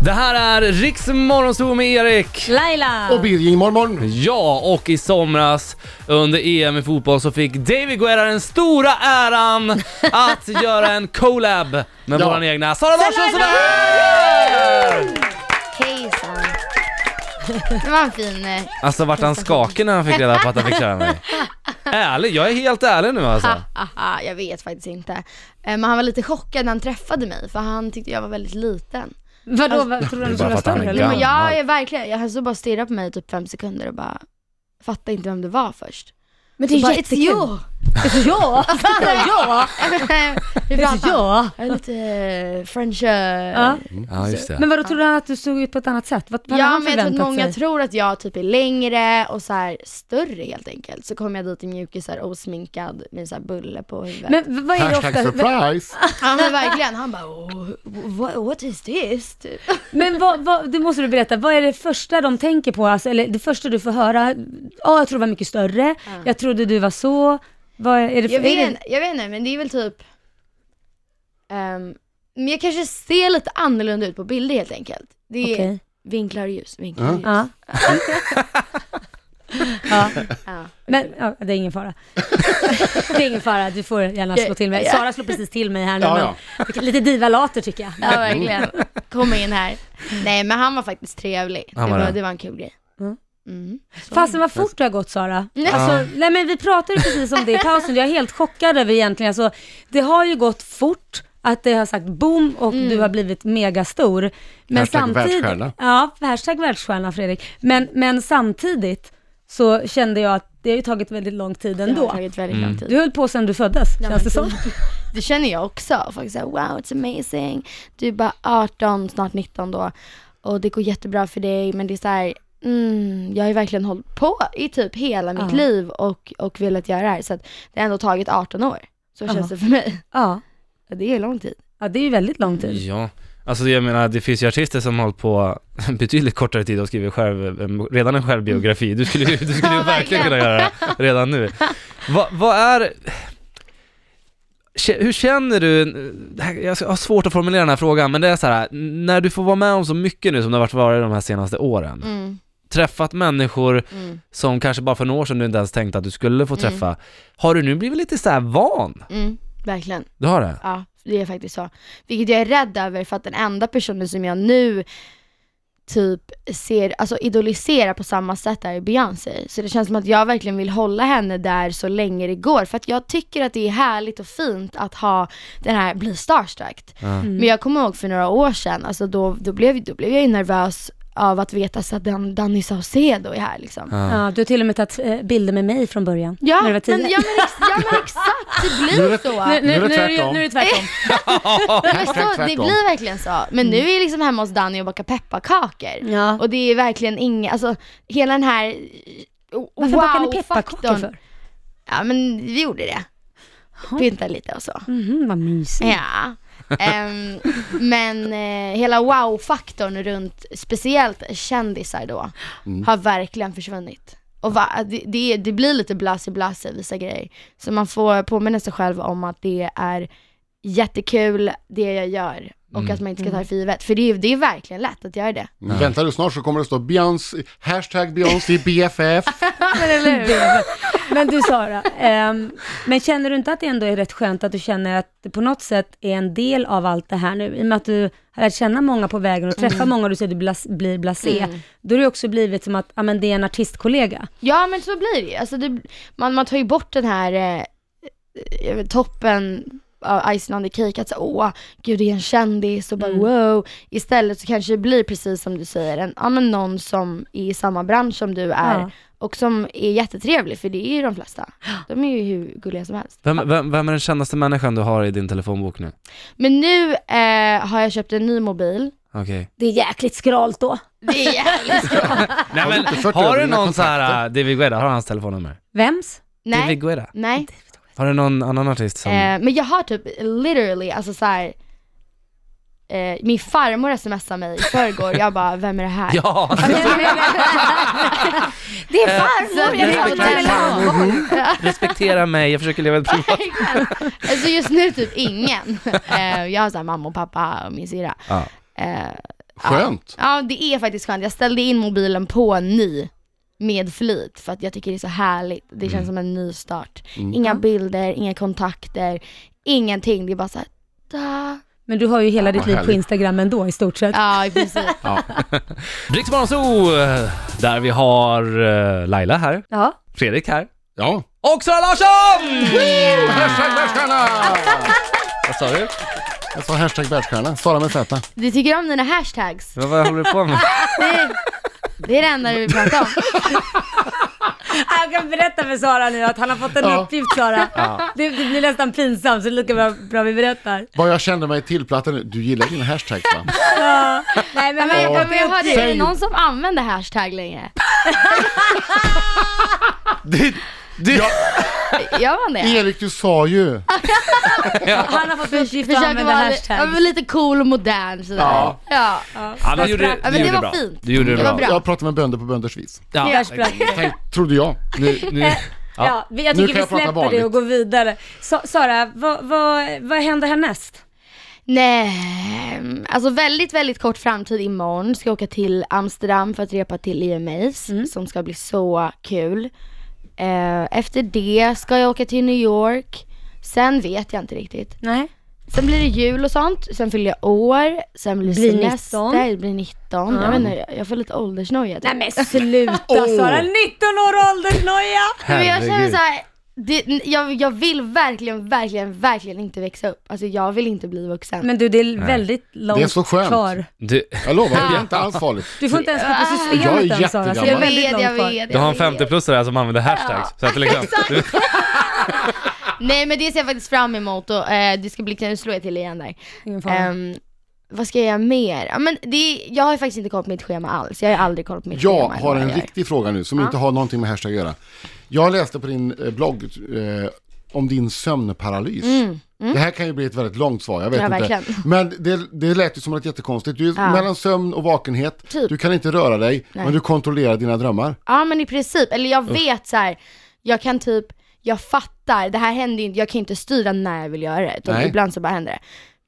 Det här är Riks Morgonzoo med Erik. Laila! Och Birging morgon. Ja, och i somras under EM i fotboll så fick David Guerra den stora äran att göra en collab med Ja. våran egna Sara Larsson som Kejsaren. Det var en fin... eh, Alltså vart han skakig när han fick reda på att han fick köra mig? Ärlig, jag är helt ärlig nu alltså. Haha, jag vet faktiskt inte. Eh, Men han var lite chockad när han träffade mig för han tyckte jag var väldigt liten. Vadå, Alltså, vad, tror du att du bara var för att han större är Ja, eller? men jag är verkligen, jag- han stod bara och stirrade på mig i typ fem sekunder och bara fattade inte vem det var först. Men bara, "It's you." Ja, ja, Hur pratar han? ja. Jag är lite eh, French... eh, Ja. Ja, just det. Men vadå, trodde han att du såg ut på ett annat sätt? Vad, vad hade Ja han men jag tror att förväntat många sig? tror att jag typ är längre och så här större helt enkelt. Så kom jag dit i mjukisar osminkad med så här bulle på huvudet. Men v- vad är det Hashtag ofta, v- surprise. ja men verkligen, han bara oh, what, what is this? Typ. men vad, vad, det måste du berätta, vad är det första de tänker på? Alltså, eller det första du får höra? Ja, jag trodde du var mycket större, jag trodde du var så. Vad är det för, Jag är vet, det, jag vet inte, men det är väl typ... ehm, men jag kanske ser lite annorlunda ut på bilder helt enkelt. Det är Okej. vinklar och ljus, vinklar och ljus. Ja. ja. Ja. Men ja, det är ingen fara. Det är ingen fara, du får gärna slå till mig. Ja. Sara slår precis till mig här nu. Ja, ja. Men, lite divalater tycker jag. Ja, verkligen. Kom in här. Nej, men han var faktiskt trevlig. Han var det, var, det. det var en kul grej. Mm. Mm. Fasen vad fort det har gått Sara. Ja. Alltså, nej men vi pratade precis om det i pausen, jag är helt chockad över egentligen, alltså, det har ju gått fort att det har sagt boom och Mm. du har blivit megastor. Men Hashtag samtidigt, världsstjärna. Ja, hashtag världsstjärna Fredrik. Men, men samtidigt så kände jag att det har ju tagit väldigt lång tid Det har ändå. tagit väldigt Mm. lång tid. Du höll på sedan du föddes, känns det som. Det känner jag också. Folk säger wow, it's amazing. Du är bara 18, snart 19 då. Och det går jättebra för dig, men det är så här, mm, jag har ju verkligen hållit på i typ hela mitt Ja. liv och, och velat göra det här. Så att det har ändå tagit 18 år. Så Ja. känns det för mig. Ja. Och Det är lång tid. ja, det är ju väldigt lång tid. Ja, alltså jag menar det finns ju artister som har hållit på betydligt kortare tid och skriver själv, en- redan en självbiografi. Du skulle, ju- du skulle ju Ja, verkligen verkligen. kunna göra det redan nu. Va, vad är... Kä- Hur känner du, det här- jag har svårt att formulera den här frågan, men det är så här, när du får vara med om så mycket nu som det har varit varit de här senaste åren, Mm, träffat människor mm, som kanske bara för några år sedan du inte ens tänkte att du skulle få träffa, har du nu blivit lite så här van? mm, verkligen. Du har det? Ja, det är faktiskt så. Vilket jag är rädd över för att den enda personen som jag nu typ ser, alltså idoliserar på samma sätt är Beyoncé. Så det känns som att jag verkligen vill hålla henne där så länge det går. För att jag tycker att det är härligt och fint att ha den här, bli starstruck. Ja. Mm. Men jag kommer ihåg för några år sedan, alltså då, då, blev, då blev jag ju nervös av att veta så att Dan, Danny Saucedo är här liksom. Ja. Ja, du har till och med tagit eh, bilder med mig från början. Ja, när du var men, ja, tio. men, ex, ja men exakt, det Nu är det- blir så. Nu, nu, nu, är det tvärtom. nu är det tvärtom. Eh, Ja, men så, det tvärtom. blir verkligen så. Men nu är jag liksom hemma hos Danny och bakar pepparkakor. Mm. Ja. Och det är verkligen inga, alltså hela den här eh, Varför bakar ni pepparkakor wow-faktorn. för? Ja men vi gjorde det. Pyntade lite och så. Mhm, vad mysigt. Ja. Ehm, men eh, hela wow-faktorn runt speciellt kändisar då har verkligen försvunnit. Och va, det, det, är- det blir lite blasig blasig vissa grejer. Så man får påminna sig själv om att det är jättekul det jag gör och att man inte ska ta det för givet. För det är, det är verkligen lätt att göra det. Väntar du snart så kommer det stå Beyoncé, hashtag Beyoncé BFF. Men du Sara, ehm, men känner du inte att det ändå är rätt skönt att du känner att det på något sätt är en del av allt det här nu? I och med att du har lärt känna många på vägen och Mm. träffar många och du säger att du blas, blir blasé. Då har det också blivit som att ja, men det är en artistkollega. Ja men så blir det ju. Alltså det, man, man tar ju bort den här eh, jag vet, toppen av icing on the cake, att så, åh, gud det är en kändis och bara wow. Istället så kanske det blir precis som du säger, en, ja, men någon som är i samma bransch som du är Ja. och som är jättetrevlig, för det är ju de flesta. De är ju hur gulliga som helst. Vem, vem, vem är den kändaste människan du har i din telefonbok nu? Men nu eh, har jag köpt en ny mobil. Okej. Det är jäkligt skralt då. Det är jävligt bra. Nej, Har du men, inte fört har över du dina någon så här, kontakter? äh, David Guetta, har du hans telefonnummer? Vems? Nej, David Guetta. nej. Har du någon annan artist som... Eh, men jag har typ literally, alltså så här. Eh, min farmor smsade mig i förrgår, jag bara, vem är det här? Ja! Eh, Det är farmor! jag vet inte vad det är. Respektera mig, jag försöker leva ett privat... alltså just nu typ ingen. Eh, jag har såhär mamma och pappa och min syrra. Ja. Eh, Skönt. Ja det är faktiskt skönt, jag ställde in mobilen på ny med flit för att jag tycker det är så härligt, det känns Mm. som en ny start. Inga bilder, inga kontakter, ingenting, det är bara såhär da. Men du har ju hela ditt Vad liv på härligt. Instagram ändå i stort sett. Ja i princip. Riksmorgon Zoo, där vi har eh, Laila här, Ja. Fredrik här Ja. och Sara Larsson! Hashtag världsstjärna! Vad sa du? Jag sa hashtag världsstjärna, Sara med Z. Du tycker om dina hashtags? Vad, vad håller du på med? Det, det är det enda du vill prata om. Jag kan berätta för Sara nu att han har fått en Ja. uppgift Sara. Det, det blir nästan pinsamt så det är lika bra, bra vi berättar. Vad jag kände mig tillplattad nu. Du gillar dina hashtags va? Ja. Nej men, Men, men, men jag hörde, är det Säg. någon som använder hashtag längre? Du, du, Gör man det? Erik, du sa ju. han har fått en uppgift att Försöker använda vara li- ja, hashtags. men lite cool och modern sådär. Ja. ja. ja, men du gjorde, men du det gjorde var bra. fint. Du gjorde det Det var bra. bra. Jag pratar med bönder på bönders vis. Ja, Hashtags. Tänk, trodde jag. Nu, nu, Ja. vi- jag tycker Nu kan vi jag prata släpper det vanligt. och går vidare. Sa- Sara, vad, vad, vad händer härnäst? Nej, alltså väldigt, väldigt kort framtid imorgon ska jag åka till Amsterdam för att repa till EMAs som ska bli så kul. Eh, efter det ska jag åka till New York. Sen vet jag inte riktigt. Nej. Sen blir det jul och sånt, sen fyller jag år, sen blir det Blir semester, 19. det blir 19. Jag vet inte, jag- jag får lite åldersnoja. typ. Nej men sluta Åh. Sara, 19 år åldersnoja! Men jag känner Herregud. så här, det, jag, jag vill verkligen, verkligen, verkligen inte växa upp. Alltså jag vill inte bli vuxen. Men du det är väldigt långt Det är så skönt. kvar. du, jag lovar, det är inte alls farligt. Du får inte ens gå på Jag systemet är än Sara, så det är jättegammal. väldigt långt jag kvar. vet. du har en jag vet. 50-plussare som använder hashtags. Så att det liksom, du, Nej men det ser jag faktiskt fram emot och eh, det ska bli kul, nu slår jag till igen där. Ingen fara. Ehm, vad ska jag göra mer? Ja, men det, är- jag har ju faktiskt inte koll på mitt schema alls, jag har ju aldrig koll på mitt Jag schema. eller har vad en jag gör. riktig fråga nu som inte har någonting med hashtag att göra. Jag läste på din eh, blogg eh, om din sömnparalys. Det här kan ju bli ett väldigt långt svar, jag vet Mm, Ja, inte. verkligen. Men det, det lät ju som något jättekonstigt. Du är mellan sömn och vakenhet, Typ. du kan inte röra dig, men du kontrollerar dina drömmar. Ja men i princip, eller jag vet så här. jag kan typ, jag fattar, det här händer ju inte, jag kan ju inte styra när jag vill göra det, utan Nej. ibland så bara händer det.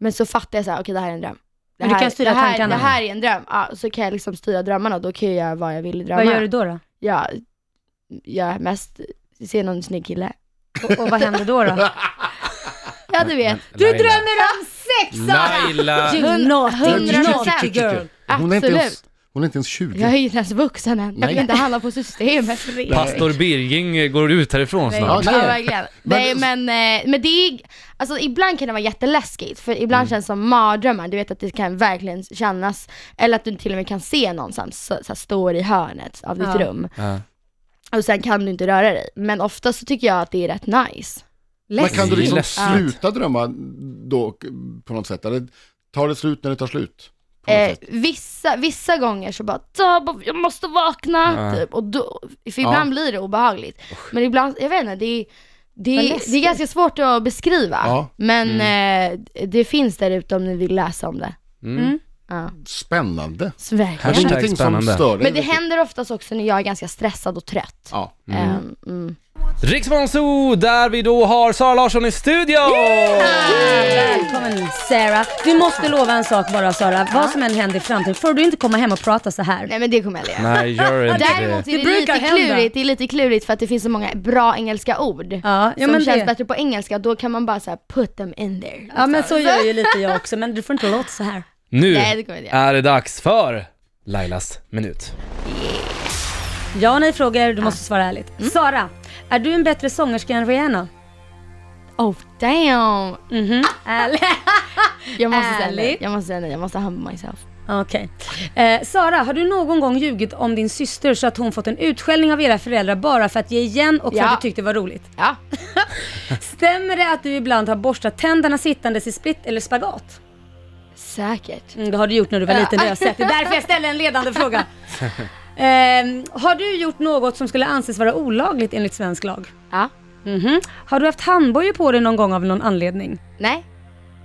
Men så fattar jag så här, okej det här är en dröm. Det Men du här, kan styra det här, tankarna. Det här är en dröm, ja, så kan jag liksom styra drömmarna och då kan jag göra vad jag vill i Vad drömmarna. gör du då? då? Ja, jag mest ser någon snygg kille. Och, och vad händer då? då? Ja du vet. Laila. om sex Laila! You Hun- naughty, hundra naughty procent. girl! Hon är, inte ens, Absolut. hon är inte ens Jag 20. är ju inte ens vuxen än, jag Nej. vill inte handla på systemet. Pastor Birging går ut härifrån Ja, snart. Ja nej. verkligen. Men- Nej men, eh, men det är, alltså ibland kan det vara jätteläskigt för ibland Mm. känns det som mardrömmar, du vet att det kan verkligen kännas, eller att du till och med kan se någon som så, så här, står i hörnet av ditt Ja. rum Ja. och sen kan du inte röra dig. Men ofta så tycker jag att det är rätt nice. Men kan du liksom Läskigt. sluta drömma då på något sätt? Eller tar det slut när det tar slut? På något Eh, sätt? vissa, vissa gånger så bara, "Tab, jag måste vakna, Ja. typ. och då, för ibland blir det obehagligt. Men ibland, jag vet inte, det är, det Vad är, läskigt. det är ganska svårt att beskriva. Ja. Mm. Men eh, det finns där ute om ni vill läsa om det. Mm. Ja. Spännande. Så verkligen. Men det är Hashtag ingenting som spännande. stör dig. Men det riktigt. händer oftast också när jag är ganska stressad och trött. Ja. Ehm, mm. Riksmorgon Zoo, där vi då har Sara Larsson i studion! Ah, Välkommen Sarah. Du måste lova en sak bara Sara, vad som än händer i framtiden får du inte komma hem och prata så här. Nej men det kommer jag aldrig göra. Nej, gör inte Däremot det. är det, Det brukar lite hända. klurigt, det är lite klurigt för att det finns så många bra engelska ord. Ja, ja som men känns det. bättre på engelska, då kan man bara säga put them in there. Ja men så gör ju lite jag också, men du får inte låta så här. Nu Nej, det kommer jag inte är det dags för Lailas minut. Ja och nej frågor, du måste svara ärligt. Sara, är du en bättre sångerska än Rihanna? Oh damn! Mhm, ärligt. Jag måste säga Ärligt. nej, jag måste säga nej, jag måste humble myself. Okej. Eh, Sara, har du någon gång ljugit om din syster så att hon fått en utskällning av era föräldrar bara för att ge igen och för Ja. att du tyckte det var roligt? Ja. Stämmer det att du ibland har borstat tänderna sittandes i split eller spagat? Säkert. Mm, det har du gjort när du var Ja. liten, det har jag sett. Det är därför jag ställer en ledande fråga. Ehm, har du gjort något som skulle anses vara olagligt enligt svensk lag? Ja. Mhm. Har du haft handbojor på dig någon gång av någon anledning? Nej.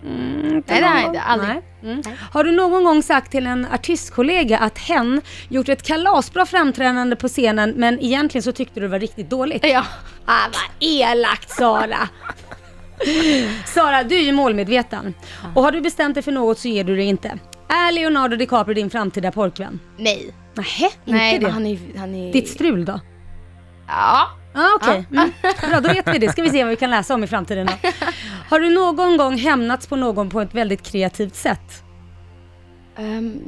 Mm, Nej, det har jag någon inte. gång. Aldrig. Nej. Mm. Har du någon gång sagt till en artistkollega att hen gjort ett kalasbra framträdande på scenen men egentligen så tyckte du det var riktigt dåligt? Ja. Ah, vad elakt Sara! Sara, du är ju målmedveten. Och har du bestämt dig för något så ger du det inte. Är Leonardo DiCaprio din framtida pojkvän? Nej. Nähä, inte Nej, det? men han är... Han är... Ditt strul då? Ja. Ja ah, okej, mm. bra då vet vi det. Ska vi se vad vi kan läsa om i framtiden då. Har du någon gång hämnats på någon på ett väldigt kreativt sätt? Ehm,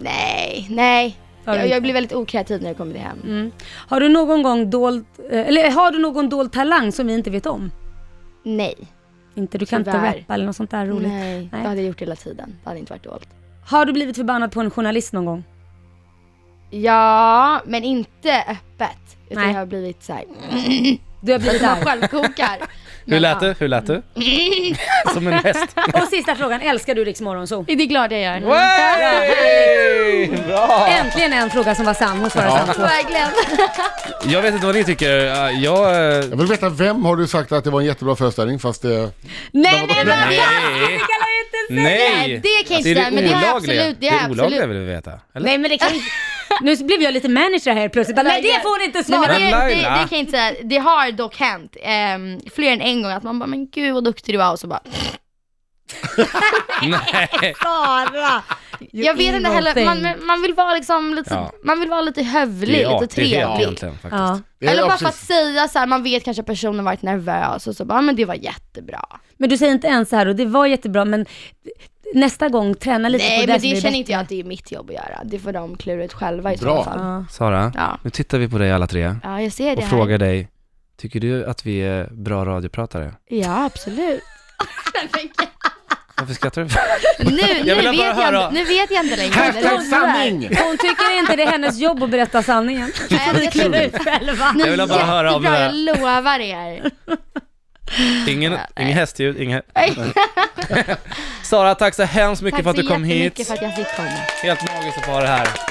nej, nej. Har du Jag, inte? jag blir väldigt okreativ när jag kommer hem. Har du någon gång dold, eh, eller har du någon dold talang som vi inte vet om? Nej. Inte, du kan Tyvärr. inte rappa eller något sånt där roligt. Nej, det Nej. hade jag gjort hela tiden. Det hade inte varit dolt. Har du blivit förbannad på en journalist någon gång? Ja, men inte öppet. Utan Nej. jag har blivit såhär, Du har blivit arg. självkokar. Hur Men, lät ja. du? Hur lät du? Som en häst. Och sista frågan, älskar du Rix Morgonzoo? Är det glad jag gör? Wey! Bra! Äntligen en fråga som var sann, hon svarade sant på. Verkligen. Jag vet inte vad ni tycker. Eh, Jag... eh, Jag vill veta, vem har du sagt att det var en jättebra föreställning fast det... Nej nej men Nej. det kan jag ju inte säga! Nej! det kan alltså, inte är stämma, men det har jag olagliga? absolut- det Det har är jag olagliga vill absolut. vi veta. Eller? Nej men det kan ju- Nu blev jag lite manager här plötsligt, nej det får ni inte Nej, svara! men det, Men det, det Laila. kan jag inte säga. Det har dock hänt ehm, fler än en gång att man bara, men gud vad duktig du var och så bara, Nej. Sara! jag vet inte heller, man, man vill vara liksom lite, Ja. man vill vara lite Det hövlig, är lite artighet trevlig. egentligen faktiskt. Ja. det är- Eller ja, bara för att precis. säga så här, man vet kanske att personen varit nervös och så bara, men det var jättebra. Men du säger inte ens så här och det var jättebra men nästa gång träna lite på det Nej men som det är känner bäst. inte jag att det är mitt jobb att göra. Det får de klura ut själva i Bra. så fall. Ja. Sara, Ja. nu tittar vi på dig alla tre ja, jag ser det och här. frågar dig, tycker du att vi är bra radiopratare? Ja, absolut. Varför skrattar du? nu, nu, vill bara vet jag höra. inte, nu vet jag inte längre. Hashtag sanning! Hon tycker inte det är hennes jobb att berätta sanningen. Nej, Vi klär ut själva. Ni Jag vill bara är höra om jättebra, det här. Jag lovar er. Ingen, ingen hästljud, ingen... Nej. Sara, tack så hemskt mycket Tack för att så du kom jättemycket hit. för att jag fick komma. Helt magiskt att få ha det här.